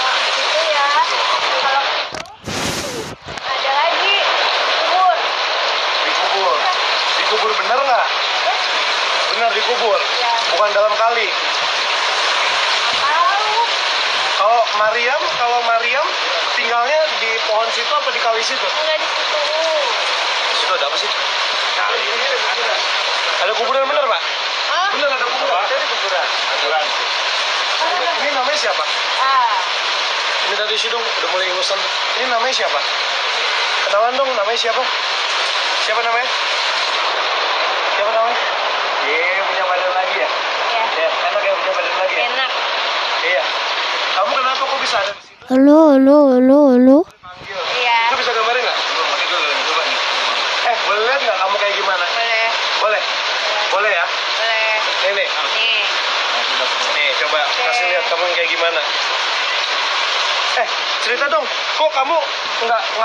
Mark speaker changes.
Speaker 1: Iya, gitu,
Speaker 2: Cuman dalam kali.
Speaker 1: Tahu.
Speaker 2: Kalau Mariam, kalau Mariam tinggalnya di pohon situ apa di kali situ?
Speaker 1: Enggak di situ.
Speaker 3: Itu ada apa sih?
Speaker 2: Kali. Ada kuburan bener, Pak?
Speaker 1: Hah?
Speaker 2: Bener ada kuburan. Jadi kuburan.
Speaker 3: Aturan.
Speaker 2: Ini namanya siapa?
Speaker 1: Ah.
Speaker 2: Ini tadi sih dong udah mulai ngusan. Ini namanya siapa? Kenalan dong namanya siapa? Siapa namanya? Siapa namanya? Iya, punya badan lagi ya?
Speaker 1: Ya.
Speaker 2: Ya, enak ya punya badan lagi ya?
Speaker 1: Enak.
Speaker 2: Iya. Kamu kenapa kok bisa ada di situ?
Speaker 4: Halo, halo, halo, halo.
Speaker 2: Dipanggil.
Speaker 1: Iya.
Speaker 2: Itu bisa gambarin nggak?
Speaker 3: Belum pakai dulu, coba nih.
Speaker 2: Eh, boleh lihat nggak kamu kayak gimana?
Speaker 1: Boleh.
Speaker 2: Boleh. Boleh ya?
Speaker 1: Boleh.
Speaker 2: Nih, nih.
Speaker 1: Nih.
Speaker 3: Nah, sudah.
Speaker 2: Nih, coba kasih lihat kamu yang kayak gimana. Eh, cerita dong. Kok kamu nggak